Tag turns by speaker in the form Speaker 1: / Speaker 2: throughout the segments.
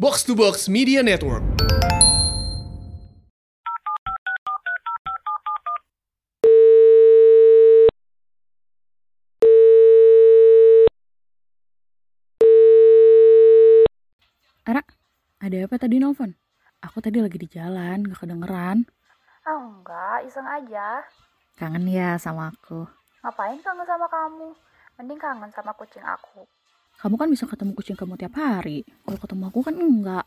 Speaker 1: Box to Box Media Network.
Speaker 2: Ara, ada apa tadi nelfon? Aku tadi lagi di jalan, gak kedengeran.
Speaker 3: Ah, enggak, iseng aja.
Speaker 2: Kangen ya sama aku.
Speaker 3: Ngapain kangen sama kamu? Mending kangen sama kucing aku.
Speaker 2: Kamu kan bisa ketemu kucing kamu tiap hari. Kalau ketemu aku kan enggak.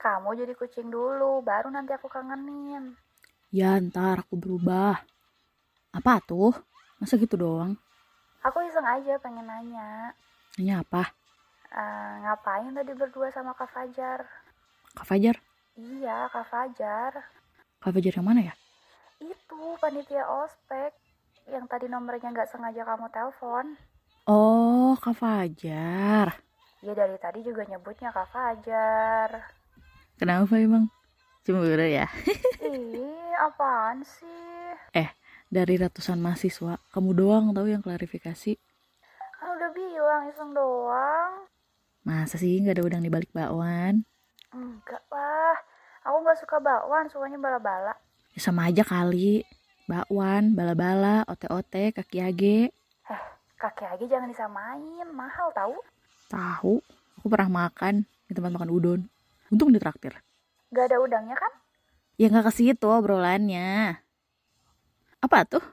Speaker 3: Kamu jadi kucing dulu, baru nanti aku kangenin.
Speaker 2: Ya ntar aku berubah. Apa tuh? Masa gitu doang?
Speaker 3: Aku iseng aja pengen nanya.
Speaker 2: Nanya apa?
Speaker 3: Eh, ngapain tadi berdua sama Kak Fajar?
Speaker 2: Kak Fajar?
Speaker 3: Iya, Kak Fajar.
Speaker 2: Kak Fajar yang mana ya?
Speaker 3: Itu panitia ospek yang tadi nomornya nggak sengaja kamu telepon.
Speaker 2: Oh, Kak Fajar.
Speaker 3: Ya dari tadi juga nyebutnya Kak Fajar.
Speaker 2: Kenapa emang? Cemburu ya?
Speaker 3: Ih, apaan sih?
Speaker 2: Dari ratusan mahasiswa, kamu doang tahu yang klarifikasi.
Speaker 3: Kan udah bilang iseng doang.
Speaker 2: Masa sih nggak ada udang di balik bakwan?
Speaker 3: Enggak lah. Aku nggak suka bakwan, sukanya bala-bala.
Speaker 2: Ya sama aja kali. Bakwan, bala-bala, ote-ote, kaki age.
Speaker 3: Kaki aja jangan disamain, mahal tahu.
Speaker 2: Tahu, aku pernah makan di tempat makan udon. Untung ditraktir.
Speaker 3: Gak ada udangnya kan?
Speaker 2: Ya nggak ke situ obrolannya. Apa tuh?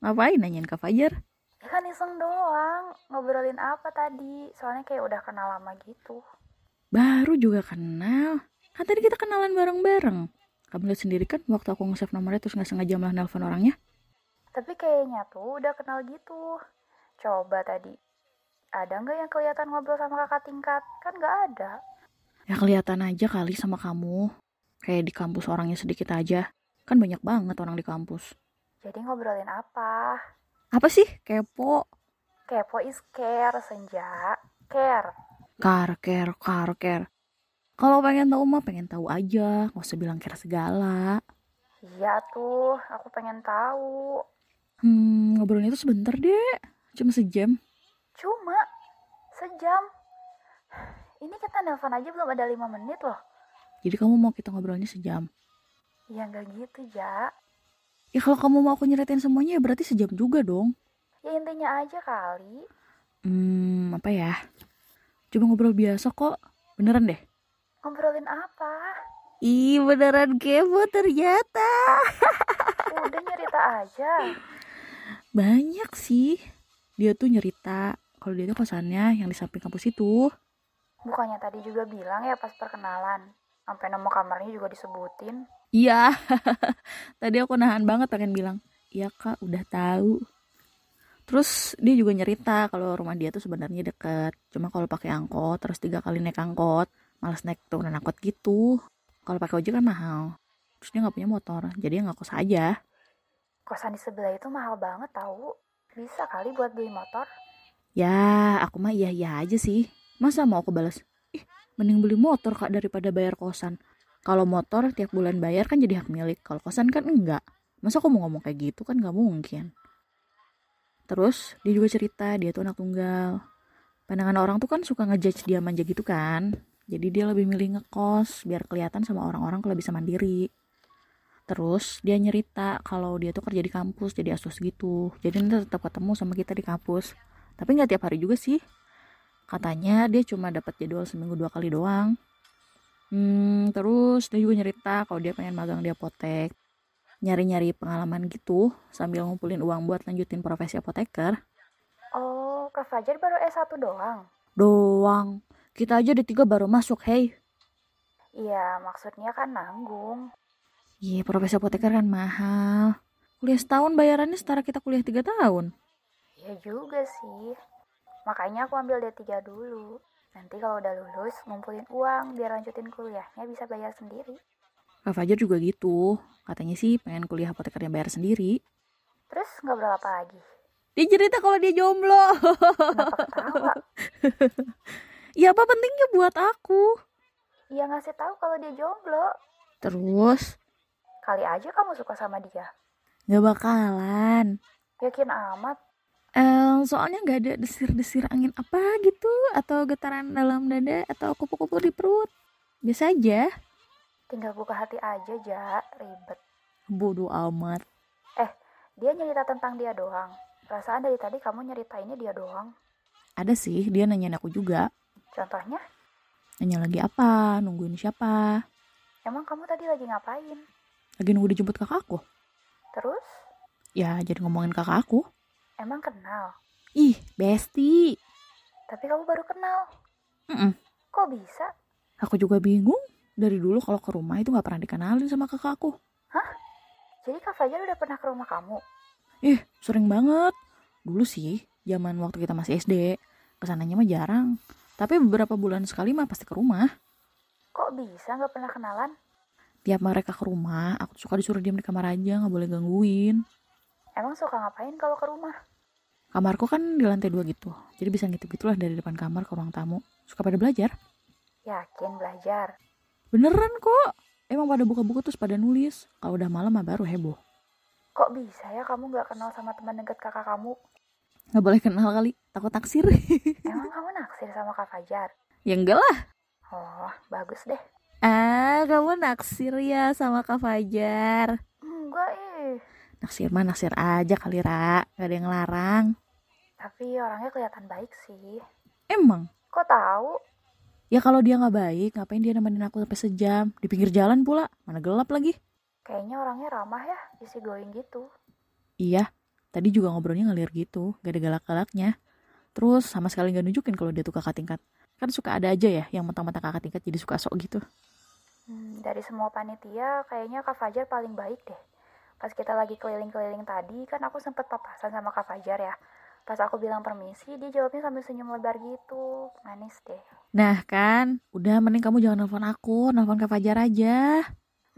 Speaker 2: Ngapain nanyain Kak Fajar?
Speaker 3: Ya kan iseng doang. Ngobrolin apa tadi? Soalnya kayak udah kenal lama gitu.
Speaker 2: Baru juga kenal. Kan tadi kita kenalan bareng-bareng. Kamu lihat sendiri kan waktu aku nge-save nomornya terus nggak sengaja malah nelpon orangnya.
Speaker 3: Tapi kayaknya tuh udah kenal gitu. Coba tadi. Ada nggak yang kelihatan ngobrol sama kakak tingkat? Kan nggak ada.
Speaker 2: Ya kelihatan aja kali sama kamu. Kayak di kampus orangnya sedikit aja. Kan banyak banget orang di kampus.
Speaker 3: Jadi ngobrolin apa?
Speaker 2: Apa sih? Kepo.
Speaker 3: Kepo is care, senja. Care.
Speaker 2: Karker, karker. Kalau pengen tahu mah pengen tahu aja. Nggak usah bilang kira segala.
Speaker 3: Iya tuh, aku pengen tahu.
Speaker 2: Hmm, ngobrolnya itu sebentar deh. Cuma sejam.
Speaker 3: Cuma sejam. Ini kita nelpon aja belum ada lima menit loh.
Speaker 2: Jadi kamu mau kita ngobrolnya sejam.
Speaker 3: Ya nggak gitu, Ja.
Speaker 2: Ya kalau kamu mau aku nyeritain semuanya ya berarti sejam juga dong.
Speaker 3: Ya intinya aja kali.
Speaker 2: Hmm, apa ya? Coba ngobrol biasa kok. Beneran deh.
Speaker 3: Ngobrolin apa?
Speaker 2: Ih, beneran kepo ternyata.
Speaker 3: Ya Udah nyerita aja.
Speaker 2: Banyak sih. Dia tuh nyerita kalau dia tuh kosannya yang di samping kampus itu.
Speaker 3: Bukannya tadi juga bilang ya pas perkenalan. Sampai nomor kamarnya juga disebutin.
Speaker 2: Iya. Tadi aku nahan banget pengen bilang, "Iya, Kak, udah tahu." Terus dia juga nyerita kalau rumah dia tuh sebenarnya deket. Cuma kalau pakai angkot terus tiga kali naik angkot, malas naik turunan angkot gitu. Kalau pakai ojek kan mahal. Terus dia nggak punya motor, jadi dia ngakos aja.
Speaker 3: Kosan di sebelah itu mahal banget tahu. Bisa kali buat beli motor.
Speaker 2: Ya, aku mah iya iya aja sih. Masa mau aku balas? Ih, mending beli motor kak daripada bayar kosan. Kalau motor tiap bulan bayar kan jadi hak milik. Kalau kosan kan enggak. Masa aku mau ngomong kayak gitu kan nggak mungkin. Terus dia juga cerita dia tuh anak tunggal. Pandangan orang tuh kan suka ngejudge dia manja gitu kan. Jadi dia lebih milih ngekos biar kelihatan sama orang-orang kalau bisa mandiri. Terus dia nyerita kalau dia tuh kerja di kampus jadi asus gitu. Jadi nanti tetap ketemu sama kita di kampus tapi nggak tiap hari juga sih katanya dia cuma dapat jadwal seminggu dua kali doang hmm, terus dia juga nyerita kalau dia pengen magang di apotek nyari-nyari pengalaman gitu sambil ngumpulin uang buat lanjutin profesi apoteker
Speaker 3: Oh, Kak Fajar baru S1 doang.
Speaker 2: doang kita aja di tiga baru masuk hey
Speaker 3: Iya, maksudnya kan nanggung.
Speaker 2: iya profesi apoteker kan mahal kuliah setahun bayarannya setara kita kuliah tiga tahun
Speaker 3: Iya juga sih. Makanya aku ambil D3 dulu. Nanti kalau udah lulus, ngumpulin uang biar lanjutin kuliahnya bisa bayar sendiri.
Speaker 2: Kak Fajar juga gitu katanya sih pengen kuliah apotekernya bayar sendiri
Speaker 3: Terus ngobrol apa lagi?
Speaker 2: dia cerita kalau dia jomblo
Speaker 3: Kenapa ketawa?
Speaker 2: ya apa pentingnya buat aku
Speaker 3: Ya ngasih tahu kalau dia jomblo.
Speaker 2: Terus?
Speaker 3: Kali aja kamu suka sama dia.
Speaker 2: Gak bakalan.
Speaker 3: Yakin amat.
Speaker 2: Eh, soalnya gak ada desir-desir angin apa gitu. Atau getaran dalam dada. Atau kupu-kupu di perut. Biasa aja.
Speaker 3: Tinggal buka hati aja, Ja. Ribet.
Speaker 2: Bodoh amat.
Speaker 3: Dia nyerita tentang dia doang. Perasaan dari tadi kamu nyeritainnya dia doang.
Speaker 2: Ada sih, dia nanyain aku juga.
Speaker 3: Contohnya,
Speaker 2: Nanya lagi apa, nungguin siapa.
Speaker 3: emang kamu tadi lagi ngapain?
Speaker 2: Lagi nunggu dijemput kakak aku.
Speaker 3: Terus,
Speaker 2: Ya, jadi ngomongin kakak aku.
Speaker 3: emang kenal?
Speaker 2: Ih, besti.
Speaker 3: Tapi kamu baru kenal.
Speaker 2: Mm-mm.
Speaker 3: Kok bisa?
Speaker 2: Aku juga bingung. Dari dulu kalau ke rumah itu nggak pernah dikenalin sama kakak aku.
Speaker 3: Jadi Kak Fajar udah pernah ke rumah kamu?
Speaker 2: Ih, sering banget. Dulu sih, zaman waktu kita masih SD. Kesananya mah jarang. Tapi beberapa bulan sekali mah pasti ke rumah.
Speaker 3: Kok bisa nggak pernah kenalan?
Speaker 2: Tiap mereka ke rumah, aku suka disuruh diam di kamar aja, nggak boleh gangguin.
Speaker 3: Emang suka ngapain kalau ke rumah?
Speaker 2: Kamarku kan di lantai dua gitu, jadi bisa ngintip gitulah dari depan kamar ke ruang tamu. Suka pada belajar.
Speaker 3: Yakin belajar.
Speaker 2: Beneran kok. Emang pada buka buku terus pada nulis. Kalau udah malam mah baru heboh.
Speaker 3: Kok bisa ya kamu nggak kenal sama teman dekat kakak kamu?
Speaker 2: Nggak boleh kenal kali, takut taksir.
Speaker 3: Emang kamu naksir sama Kak Fajar?
Speaker 2: ya enggak lah.
Speaker 3: Oh, bagus deh.
Speaker 2: Ah, kamu naksir ya sama Kak Fajar.
Speaker 3: Enggak eh.
Speaker 2: Naksir mah naksir aja kali, Ra. Nggak ada yang larang.
Speaker 3: Tapi orangnya kelihatan baik sih.
Speaker 2: Emang?
Speaker 3: Kok tahu?
Speaker 2: Ya kalau dia nggak baik, ngapain dia nemenin aku sampai sejam? Di pinggir jalan pula, mana gelap lagi.
Speaker 3: Kayaknya orangnya ramah ya, easy going gitu.
Speaker 2: Iya, tadi juga ngobrolnya ngalir gitu, gak ada galak-galaknya. Terus sama sekali gak nunjukin kalau dia tuh kakak tingkat. Kan suka ada aja ya yang mentang-mentang kakak tingkat jadi suka sok gitu.
Speaker 3: Hmm, dari semua panitia, kayaknya Kak Fajar paling baik deh. Pas kita lagi keliling-keliling tadi, kan aku sempet papasan sama Kak Fajar ya. Pas aku bilang permisi, dia jawabnya sambil senyum lebar gitu. Manis deh.
Speaker 2: Nah kan, udah mending kamu jangan nelfon aku, nelfon Kak Fajar aja.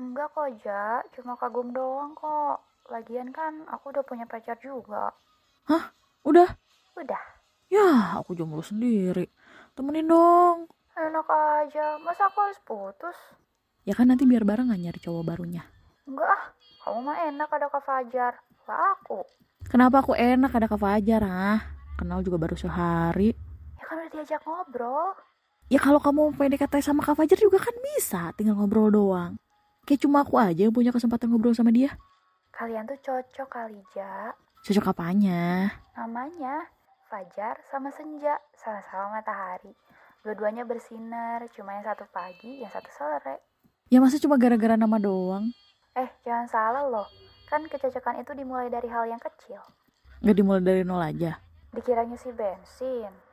Speaker 3: Enggak kok, Ja. Cuma kagum doang kok. Lagian kan aku udah punya pacar juga.
Speaker 2: Udah,
Speaker 3: Udah.
Speaker 2: ya aku jomblo sendiri. Temenin dong.
Speaker 3: Enak aja. Masa aku harus putus?
Speaker 2: Ya kan nanti biar barengan nyari cowok barunya.
Speaker 3: Enggak ah. Kamu mah enak ada Kak Fajar. Lah aku.
Speaker 2: Kenapa aku enak ada Kak Fajar, ah? Kenal juga baru sehari.
Speaker 3: Ya kan udah diajak ngobrol.
Speaker 2: Ya kalau kamu mau PDKT sama Kak Fajar juga kan bisa, tinggal ngobrol doang. Kayak cuma aku aja yang punya kesempatan ngobrol sama dia.
Speaker 3: Kalian tuh cocok kali, Ja.
Speaker 2: Cocok apanya?
Speaker 3: Namanya Fajar sama Senja, sama-sama matahari. Dua-duanya bersinar, cuma yang satu pagi, yang satu sore.
Speaker 2: Ya masa cuma gara-gara nama doang?
Speaker 3: Eh, jangan salah loh. Kan kecocokan itu dimulai dari hal yang kecil.
Speaker 2: Gak dimulai dari nol aja.
Speaker 3: Dikiranya si bensin.